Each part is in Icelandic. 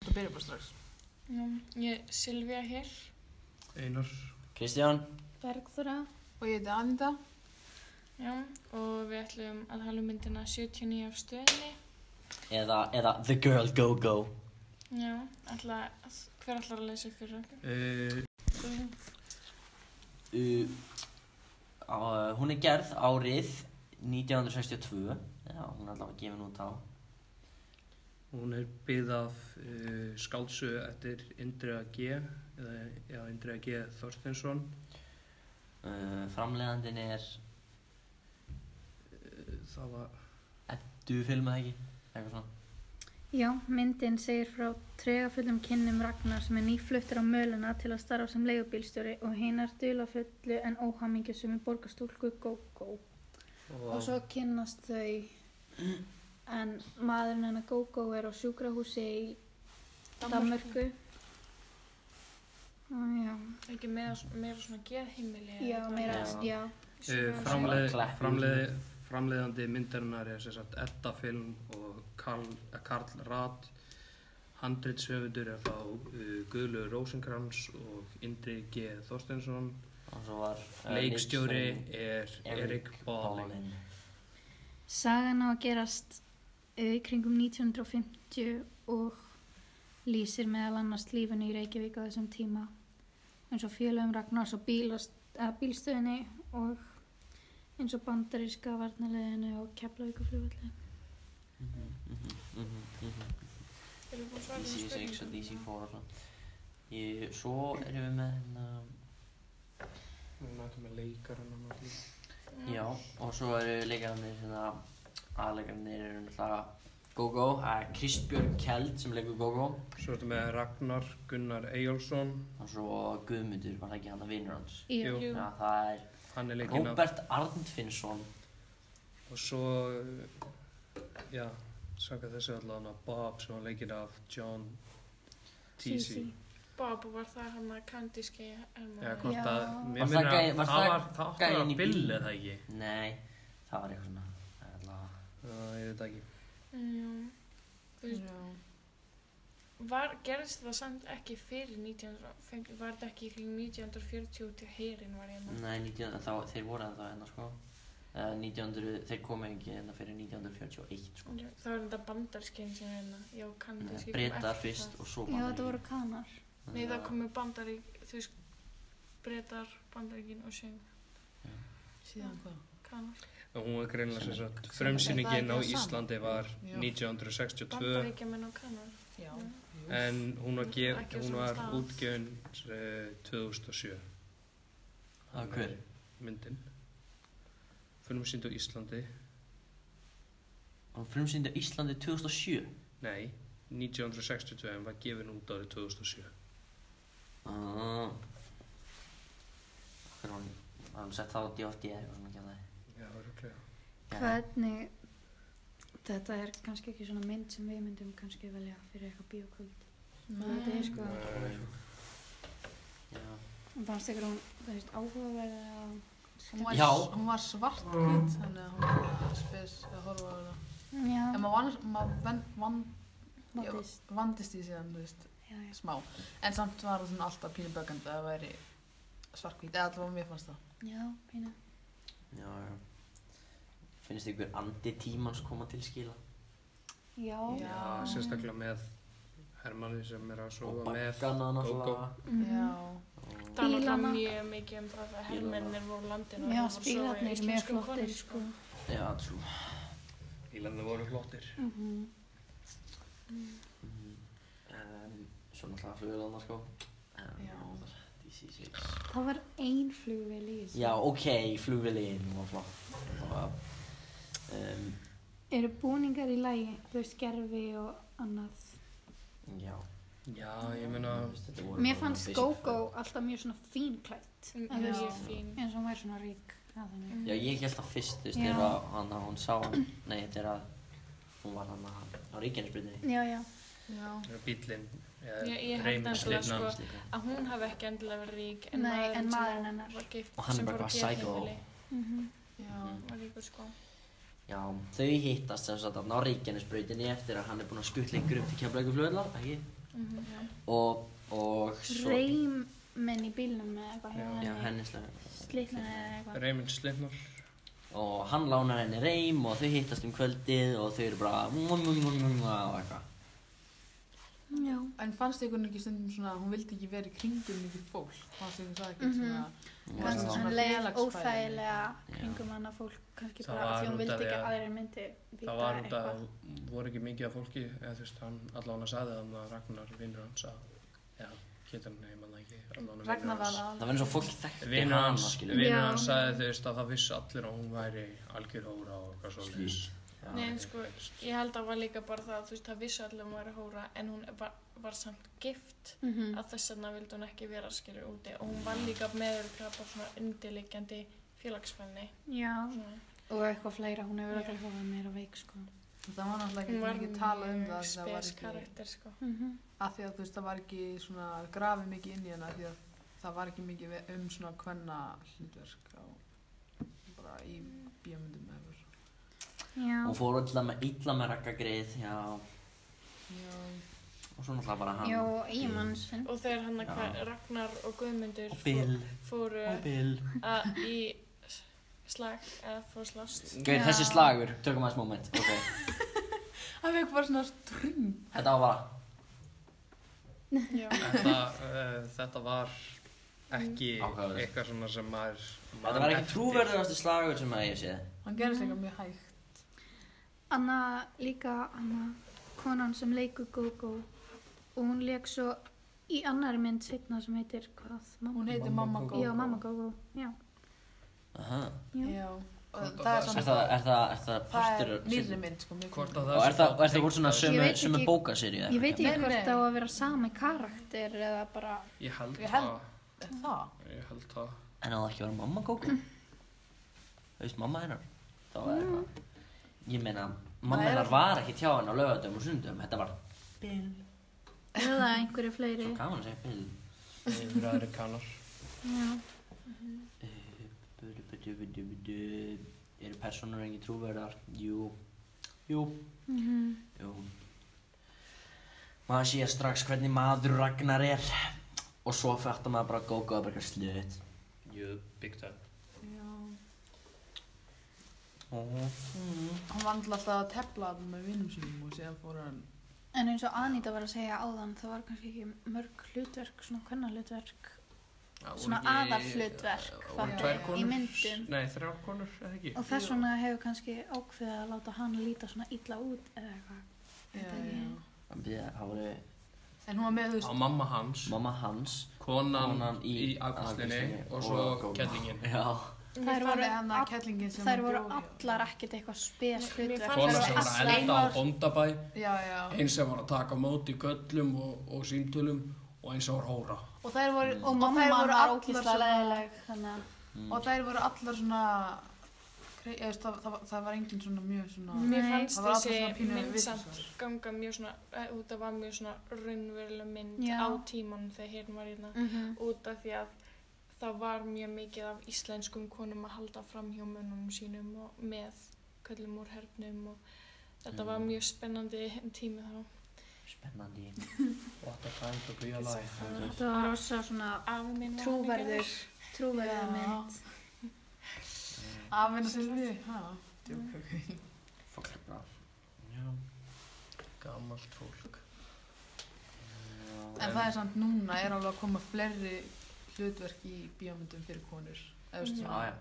Þú byrjar bara strax. Já, ég er Silvía hér. Einar. Kristján, Bergþóra. Og ég heiti Anita. Já, og við ætlum að tala um myndina 79 af stöðinni. eða, eða The Girl Go Go. Já, alltaf, hver ætlar að lesa fyrir okkur? Uh, Þú. Uh, uh, hún er gerð árið 1962, já, hún er allavega gefin út á. hún er byggð af uh, skálsu eftir Indriða G. Eða, já, Indriða G. Þorstinsson. Uh, framleiðandin er, Uh, það var, du filma það ekki, eitthvað svona. Já, myndin segir frá tregafullum kynnum Ragnar sem er nýfluttur á möluna til að starfa sem leigubílstjóri og hinar dulafullu en óhamingju sem er borgarstúlku Gógó. Og svo eh, kynnast þau en maðurinn hennar Gógó er á sjúkrahúsi í Danmörku. Og Já, Ekki meira, meira svona geðheimili. eða já, eitthvað. meira, Já. já, Svona- uh, framleiðandi- framleið, Klepphús. framleið, framleiðandi myndarinnar er sem sagt Edda Film og Karl, eh, Karl Rath. Handritshöfundur er þá uh, Guðlu Rósenkrans og Indri G. Þorstinsson. Og svo var... eh, Leikstjóri leikstjórinn er Erik Balling. Sagan á að gerast eh, í kringum 1950 og lýsir meðal annars lífinu í Reykjavík á þessum tíma eins og félögum Ragnars og bílast, að bílstöðinni og eins og bandaríska varnarleginu og Keflavíkaflugvallinu. Mhm, mhm, mhm, mhm. Eruð þið búin að svara þessum DC6 og spurningum? DC4 og svona. Ég, svo erum við með hérna, Við mætum með leikarinn hann allir. já, og svo erum við leikarnir hérna, aðleikarnir eru náttúrulega Gogo, að Kristbjörn Kjeld sem leikur Gogo Svo ertu með Ragnar Gunnar Eyjálsson, og svo Guðmundur, var það ekki hann að vinur hans? Jú. Jú. Já, það er hann er leikinn af, Róbert Arndfinnsson, og svo, uh, já, sanga þessu allan að Bob sem hann leikinn af John Teasy. Bob var það hann að kandiski hermaður. Eða hvort Já. að, Var mér það minna, gæi- var það það var, það átti gæinn að í vera Bill bílnum? eða ekki? nei, það var eitthvað svona, það er allavega, Það, ég veit ekki. Mm, þú veist, var, gerðist það samt ekki fyrir 1950, var þetta ekki í kringum 1940 til heyrin var hérna? ég maður? nei, 19, þá, þeir voru það hérna sko, Eh, 1900, þeir komu ekki hérna fyrir 1941 sko, Það var þetta bandarskinn sem er hérna, já, kandiski. Eh, Bretar fyrst og svo hérna. Já, þetta Bandaríkin. voru kanar. Nei, það að- komu bandarík, þú veist, Bretar, bandaríkin og sem Síðan hvað? kanar. Og hún var greinlega sem Sem sagt, frumsýningin á Það er ekki Íslandi var Já. 1962, Bandaríkjamenn og kanar. Já. en hún var, ge- Ekki á hún sama var stað. útgefin eh, 2007. Af hverju? Myndin. Fyrir sýnd á Íslandi. Hún frumsýndi á Íslandi 2007 Nei, 1962 en var gefin út árið 2007. Ah. Hvernig var hún var hún sett það á DFD eða eitthvað svona kjáði Já, öruglega. Hvernig, þetta er kannski ekki svona mynd sem við myndum kannski velja fyrir eitthvað bíókvöld. Þetta er sko, Já, fannst ykkur hún, þú veist, áhugaverð að... Hún var, Já. hún var svart hvít, þannig að hún var spes að horfa á það. Já, En maður, vann, maður van, van, notist. vandist í síðan, þú veist, Já, já. smá. En samt var það svona alltaf pínu bögand að það væri svart hvít, eða allavega mér fannst það. Já, pínu. já, já Finnst ykkur andi tímans koma til skila? Já. Já. Já, sérstaklega með Hermanni sem er að Og sofa með. bankana náttúrulega Gógó. Mhm. Já. Og- Það var Bílana. náttúrulega mjög mikið um það að Bílana. hermennir voru á landinu og Já, þeir voru að sofa í spílarnir er mjög íslenskum flottir, konum, sko. Já, trú Ílanda voru flottir. Mhm. Mm. um, Svo náttúrulega flugulanda sko um, Já. DC6 Það var ein flugvél í þessu. Já, ok, flugviliðin var flott Það var um, Eru búningar í lagi, þú veist, gerfi og annað. Já Já, ég meina, Þetta voru Mér bara fannst basic sko. Gogo alltaf mjög svona fínklætt. Mm, En þú Mjög veist, fín. eins og hún væri svona rík. að þannig. Já, ég held það fyrst, þú veist, Já. þegar að hann, hún sá hann, nei, þegar að hún var hann að, á ríkjarnsbyrðinni. Já, já. Já. bílinn, Ég- ég held reymisleifna. nefnilega, sko. Sko. að hún hafi ekki endilega verið rík en Nei, maðurinn en sem maðurinn hennar. var gift Og hann sem bara fór á eitthvað psycho. geðheimili Mhm. Já. var ríkur sko Já, þau hittast sem sagt þarna á ríkjarnsbyrðinni eftir að hann er búinn að skutla ykkur upp til kemla ykkur flugðlar, ekki? Mhm. og, og svo Reimen í bílnum eða eitthvað hjá Já, henni. henni slær Slitnaði eða eitthvað. Raymond Slipnor og hann lánar henni reym og þau hittast um kvöldið og þau eru bara og eitthvað Já. En fannst ykkur ekki stundum svona að hún vildi ekki vera í kringum mikið fólk? Fannst ykkur það Mhm. ekki svona? Og Fannst Kannski svona svo- svona leið félagsfæri. óþægilega kringum annað fólk, kannski Það bara af var því hún út vildi af því ekki að að- aðrir myndi vita Það var út eitthvað. að það voru ekki mikið af fólki eða þú veist, hann allan að sagði það að Ragnar vinnur hans að já, getur hann heima það ekki allan að Ragnar var það var eins og fólk þekkti Vinnur hana hans, skilur við. vinnur Já. hans sagði þú veist að það vissi allir að hún væri algjör hóra og eitthvað svo Já. Nei, en sko, ég held að það var líka bara það að þú veist, það vissi allir að hún væri hóra en hún var, var samt gift Mm. Mhm. að þess vegna vildi hún ekki vera skilur úti og hún var líka meður bara svona undirliggjandi félagsfælni. Já, Svona. og eitthvað fleira, hún hefur Já. örugglega eitthvað meira veik, sko. Það var náttúrulega Hún ekki var mikið talað um mjög það. Það var spes ekki, karakter, sko. Mhm. af því að þú veist, það var ekki svona grafið mikið inn í hana af því að það var ekki mikið ve- um svona hvenna hlutverk á, bara í bíómyndum eða eitthvað. svona. Já. og fór illa með, illa með rakkagrið já, Já, og svo náttúrulega bara hann Já, og eiginmann sinn. Og þegar hann Já. að Ragnar og Guðmundur og Bill, fó- fóru og Bill að í s- slag eða fóru slast. Gauð, Já. þessi slagur, tökum aðeins moment okay. Það fekk bara svona strým. Þetta var bara Já. þetta, uh, þetta var ekki Áhugaverð. eitthvað svona sem maður Þetta var ekki trúverðurasti slagur sem að ég sé Hann gerðist eitthvað mjög hægt. Anna líka, Anna, konan sem leikur Gogo og hún leik svo í annari mynd setna sem heitir hvað? Mamma, Hún heitir Mamma Mamma Go. já, Mamma Gogo, já. Aha. já. Já, og Hvort að það er það Er svona, það, er það, er það það partur er af- nýrri mynd, sko, mjög Hvort góð. að það Og er sé það, og bara er það voru svona tengt að- sömu, Ég veit ekki- sömu bókaseríu Ég veit Nei, ekki hvort nei. það á að vera sami karakter eða bara, Ég held Ég held- það, Er það? ég held það En á það ekki að vera mamma kókó Það veist mamma hennar Það var Mm. eitthvað Ég meina, Það mamma er hennar ekki- var ekki hjá hennar á lögadum og sundum Þetta var Bill eða einhverju fleiri. Svo gaman að segja Bill Yfir aðri kannar Já. Eh, budu, budu, budu, budu. Eru personur ekki trúverðar? Jú Jú Mhm. Jú. Maður sé strax hvernig maður Ragnar er og svo fættar maður bara Gogo að berga slutt. Jú, big time Já. Mhm. Mm. Hann var náttúrulega alltaf að tefla þarna með vinnum sínum og síðan fór hann... En eins og Anita var að segja áðan, það var kannski ekki mörg hlutverk, svona hvernig hlutverk Svona aðalhlutverk, Var fattar tvær ég, í konur? myndum. Nei, þrjár konur, eða ekki og þess vegna hefur kannski ákveðið að láta hann líta svona illa út eða eitthvað. Já, Þetta ekki. já. Það voru En hún var með, þú Á veist, mamma hans, mamma hans, konan, konan í, í afgustinni og svo Gogo. kellingin Já, Þær mér voru fannst hann að all- kettlingin sem Þær voru bjó hjá. allar ekkert eitthvað spes Mér- mér fannst hlutverk. Konan sem Þær voru var að allar- elda á bóndabæ Já, já. Eins sem var að taka á móti göllum og, og símtölum og eins sem var hóra Og þær voru, og mamma þær var voru ókýrslega svona... leðileg þannig að Mm. Og þær voru allar svona... Krei, eða, þú veist, það, það, var- það var engin svona mjög svona... Nei. Mér fannst Það var alltaf svona þessi pínu mynd vitlaus, samt sko. ganga mjög svona, eh, út að var mjög svona raunveruleg mynd Já. á tímanum þegar hérna var hérna út af því að það var mjög mikið af íslenskum konum að halda fram hjá mönnum sínum og með köllum úr hernum og þetta var Mm. mjög spennandi tími þá. spennandi. What a time to be alive þetta var rosa svona Afi minn var trúverður trúverður Já. mynd Að vinna sér því, já. Djók, ok. Fólk er bra. Já. Gamalt fólk En það er samt núna, er alveg að koma fleiri hlutverk í bíómyndum fyrir konur. Eða, þú veist, Mhm. Já, já. svona,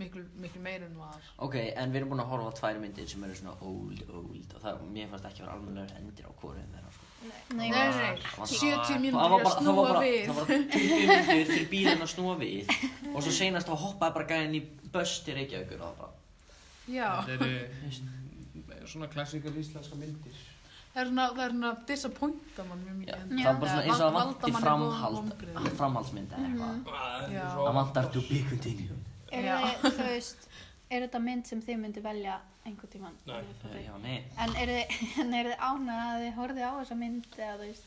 miklu, miklu meir en var. Ok, en við erum búin að horfa á tvær myndir sem eru svona old, old og það, mér fannst ekki að vera almennilega endir á hvorum þeirra, sko. Nei. Nei, Nei, nei, nei, Það var- 70 það var mínútur bara, að það var snúa bara, við. það var bara 20 myndir fyrir bílinn að snúa við og svo seinast þá hoppaði bara gæðin í buss til Reykjavíkur og það bara Já, Þetta eru svona klassíkar íslenska myndir það er svona, það er svona disappointa mann mjög Já, mikið. það var bara svona eins og það Valda vanti manni framhald, von- vonbrigðum. framhaldsmynd eða eitthvað. Já. Það vantar to be continued. er Já. þið, þú veist er þetta mynd sem þið myndu velja einhvern tíman Nei. Eh, Já, nei. en er þið en er þið ánað að þið horfið á þessa mynd eða þú veist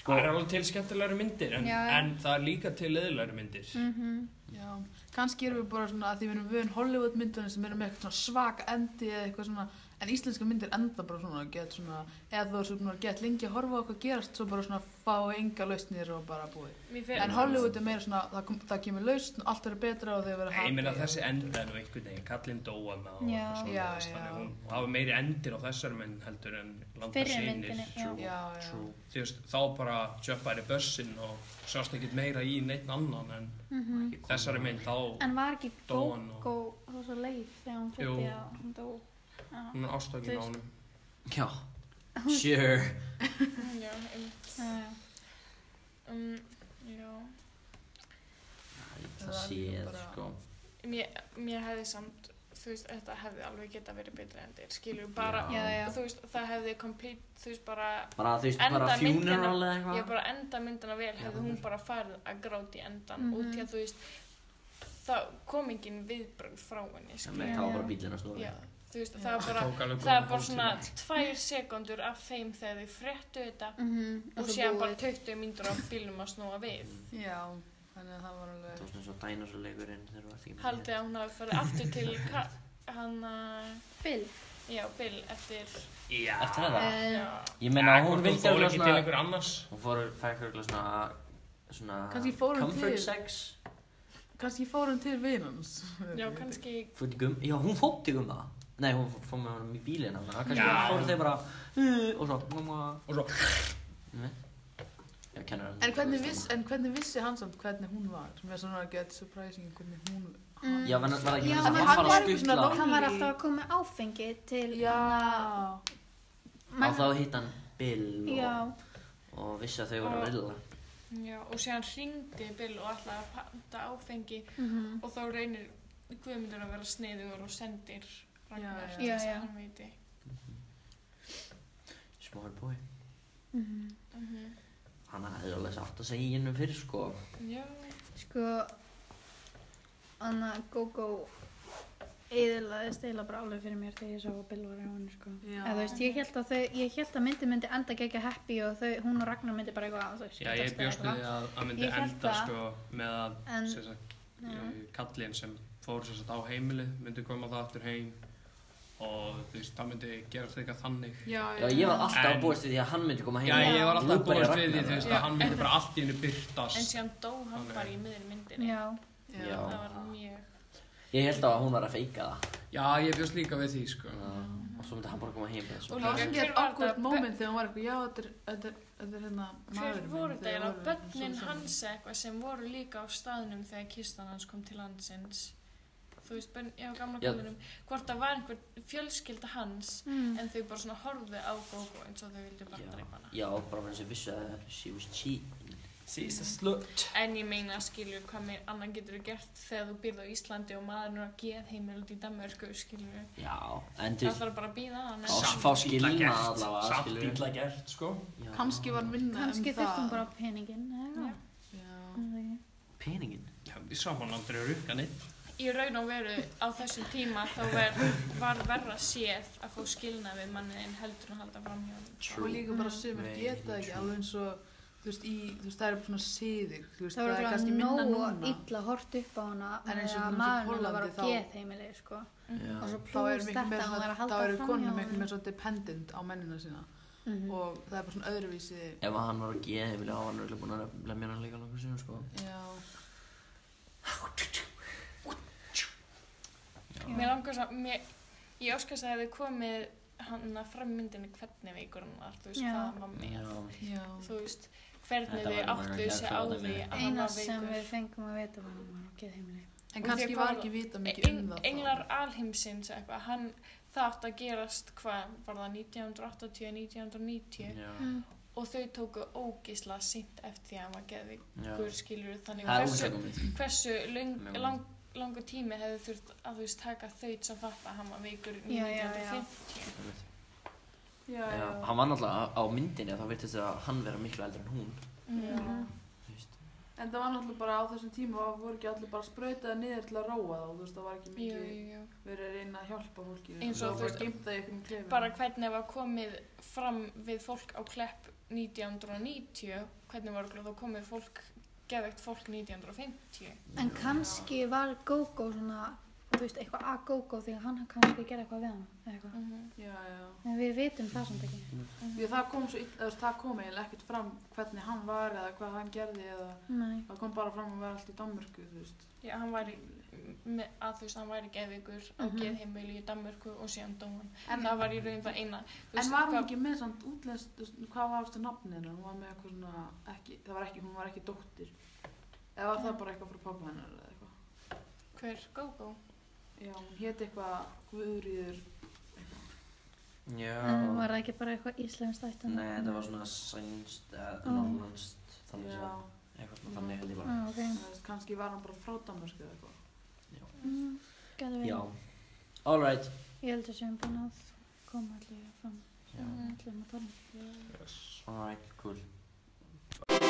Sko, Það er alveg til skemmtilegri myndir en, Já, já. en það er líka til leðilegri myndir mhm Já, kannski erum við bara svona að því við erum vön Hollywood myndunum sem erum með eitthvað svona svak endi eða eitthvað svona en íslenska myndir enda bara svona get svona, eða þú er svona get lengi að horfa á hvað gerast svo bara svona fá enga lausnir og bara búið hérna. Mér fer- en Hollywood er meira svona, það, kom, það kemur lausn allt verður betra og þau verður Ég meina happy. þessi enda nú einhvern veginn, kallinn dóa með og Já. eitthvað svona, Já, veist, þannig já. að hún og hafa meiri endir á þessar menn heldur en langar Fyrri sinir. myndinni, já. Já, já. Þú veist, þá bara tjöppaði bussinn og sást ekkert meira í neitt annan en Mhm. þessari mynd þá, En var ekki Dó hann og- Gógó þá svo leið þegar Jú. hún flytti að hún dó? Já. hún er ástökin á Þú honum. Já, sure. Já, einmitt. Já, já. Um, já. Það Það er séð, bara- sko. Mér, mér hefði samt, þú veist, þetta hefði alveg geta verið betra endir, skilur bara, Já, já. þú veist, það hefði complete, þú veist, bara, Bara, þú veist, Enda bara myndina. funeral eða ég eitthvað. bara enda myndina vel, hefði hún bara farið að gráta í endan, Mhm. út í að þú veist, það kom engin viðbrögð frá henni, Það skilur með Já, þá já. bara bílinn að snúa. Já, við. þú veist, Já. það var bara, Tók alveg það góðan var bara svona hálftíma. tvær sekundur af þeim þegar þau fréttu þetta Mhm, og svo séðan búið. bara 20 mínútur af bílum að snúa við. Mm. já, þannig að það var Það alveg var svona svo dænasurleikurinn þegar þú ert ekki Haldið að hún hafi farið aftur til ka- hann að, Bill. já, Bill, eftir, Já, Eftir þetta? Eh, já, Ég meina, hvort hún vildi fór alveg ekki til svona... einhver annars. Hún fór, fæk alveg svona... Svona... Kannski fór hún comfort til- sex. kannski fór hann til vinans já, kannski, Fór til gum... Já, hún fór til gumma. Nei, hún fór- fór með honum í bílinn. Þannig að kannski Já. fór þau bara... "Uh," Og svo... Mamma... Og svo, Nei. Já, kennur hann. en hvernig, viss, en hvernig vissi hann samt hvernig hún var sem er svona get surprising hvernig hún Mm. Já, var, var, Já, já, en hann hann var var eitthvað að svona skutla Lonely. Hann var alltaf að koma með áfengi til já, á þá hitt hann Bill Já, og, og vissi að þau voru Og- að vilja já, og séðan hringdi Bill og ætlaði að panta áfengi mhm. og þá reynir Guðmundur að vera sniðugur og sendir Ragnar Já, já. til þess Já, já. að hann veiti. small boy mhm. Mhm. hann hefði alveg satt að segja hennum fyrir sko Já, Sko, Anna Gógó eðilaðist eila bara alveg fyrir mér þegar ég sá að Bill var hjá henni, sko. Já. Eða, þú veist, ég held að, þau, ég held að myndi myndi enda gegja happy og þau, hún og Ragnar myndi bara eitthvað að þau já, ég bjóst við því að að myndi Ég hélt enda það. sko með að En, sem sagt, já. eh, kallinn sem fór sem sagt á heimilið myndi koma það aftur heim og þú veist, það myndi gera þetta eitthvað þannig já, já, ég var alltaf En- að búast við því að hann myndi koma heim Já, ég var alltaf að Lúberja búast við því, Ragnar, þú veist, Já. að hann myndi bara allt í hennu byrtast en síðan dó hann Þannig. bara í miður myndinni. já, Já. Það var mjög, ég held að hún var að feika það Já, ég bjóst líka við því, sko Já, og svo myndi hann bara koma heim með Og þessu. líka- Lóðin hver get var awkward þetta? moment þegar hún var eitthvað, já, þetta er- þetta er- þetta er hérna hver maðurinn minn. voru þetta þegar eða voru börnin svona hans eða eitthvað sem voru líka á staðnum þegar kistan hans kom til landsins. Þú veist, börn, já, gamla Já. konunum, hvort það var einhver fjölskylda hans mm. en þau bara svona horfðu á Gogo eins og þau vildi bara Já. dreipa hana. já, bara fyrir þessu vissu að she was cheating She's a slut En ég meina skilur hvað mér annan getur gert þegar þú býrð á Íslandi og maðurinn er að geð heimil út í Danmörku skilur. já, en Það þú ætlar bara að býða hann. Fá- Samt fá illa skilnað gert, allavega, samt Samt skilurðu. illa illa gert, sko já, Kannski var minna um það. kannski þurftum bara peningin, eða, Já. Já. já. peningin Já, við sá hann aldrei rukka neitt Í raun og veru á þessum tíma þá ver, var verra séð að fá skilna við manniðin heldur en að halda fram hjá sko. hann. Og líka bara sumir Nei, geta ekki true. alveg eins og, þú veist, í, þú veist, það eru bara svona siðir, þú veist, Það það var er kannski alveg minna nógu núna. illa hort upp á hana En eins og þegar til dæmis í maðurinn hennar var á Póllandi þá- geðheimili, sko. Mhm. Já. Og svo Þá plús eru miklu þetta, meira hún var að svona, þá halda eru fram konur miklu meira svo dependent á mennina sína Mm. Mhm. og það er bara svona öðruvísi, ef að hann var að geða hefði vilja á hann örugglega búinn að lemja hann líka langar síðan sko já, Mér langar svo, mér, ég óskast að það hefði komið hann að fram í myndinni hvernig veikur hann var, þú veist Já. hvað hann var með. já, já. Þú veist hvernig Þetta væri þau bara áttu gert sig á þarna því með- að hann Eina var sem veikur. við fengum að vita var að hún var á geðheimili. En Og kannski því var hvað- ekki vita mikið um Eng- það. þá. Englar alheimsins eitthvað, hann það átt að gerast hvað var það 1980, 1990 já, Mm. og þau tóku ógisla sýnt eftir því að hann var geðvíkur já skilur þannig það er hversu, úrsökum hversu löng, Mjög. lang, langu tími hefði þurft að þú veist taka þau til að fatta að hann var veikur Já, já, já. 1950 Já, Já, hann var náttúrulega á myndinni þá virtist það að hann vera miklu eldri en hún Mm. Já. þú veist. En það var náttúrulega bara á þessum tíma og voru ekki allir bara sprautaði niður til að róa þá, þú veist, það var ekki Jú, mikið jú, jú. verið að reyna að hjálpa fólki. Eins það og þú var veist- geimt að ykkur um klefum. bara hvernig var komið fram við fólk á klepp 1990 hvernig var örugglega þá komið fólk geðveikt fólk 1950 En kannski var Gógó svona þú veist, eitthvað að gógó því að hann kannski gerði eitthvað við hann eða eitthvað. já, já. En við vitum það samt ekki. Því að það kom svo, ill- eða þú veist, það kom eiginlega ekkert fram hvernig hann var eða hvað hann gerði eða Nei. það kom bara fram að vera allt í Danmörku, þú veist. Já, hann væri, með, að þú veist, hann væri geðvíkur á Mhm. geðheimili í Danmörku og síðan dóan. En- En það var í raun það eina. Þú En var hún hvað- ekki með samt útlest, þú veist, hvað var aftur nafnið hennar? Hún var með eitthvað svona, ekki, það var ekki, hún var ekki dóttir. Eða var það bara eitthvað frá pappa hennar eða eitthvað? Hver? Gógó? Já, hún héti eitthvað Guðuríður, Já. En var um það ekki bara eitthvað íslenskt ættan? Nei, þetta var svona sænst, eða Mm. norrlænst, þannig já, séð. Eitthvað svona þannig held ég bara. Ah, ok. þú veist, kannski var hann bara frá Danmörku eða eitthvað. Mm, Gæti verið. Já. Alright. Ég held að séum búin að koma Mhm. allir fram. Já. Allir um að tala. Alright, cool.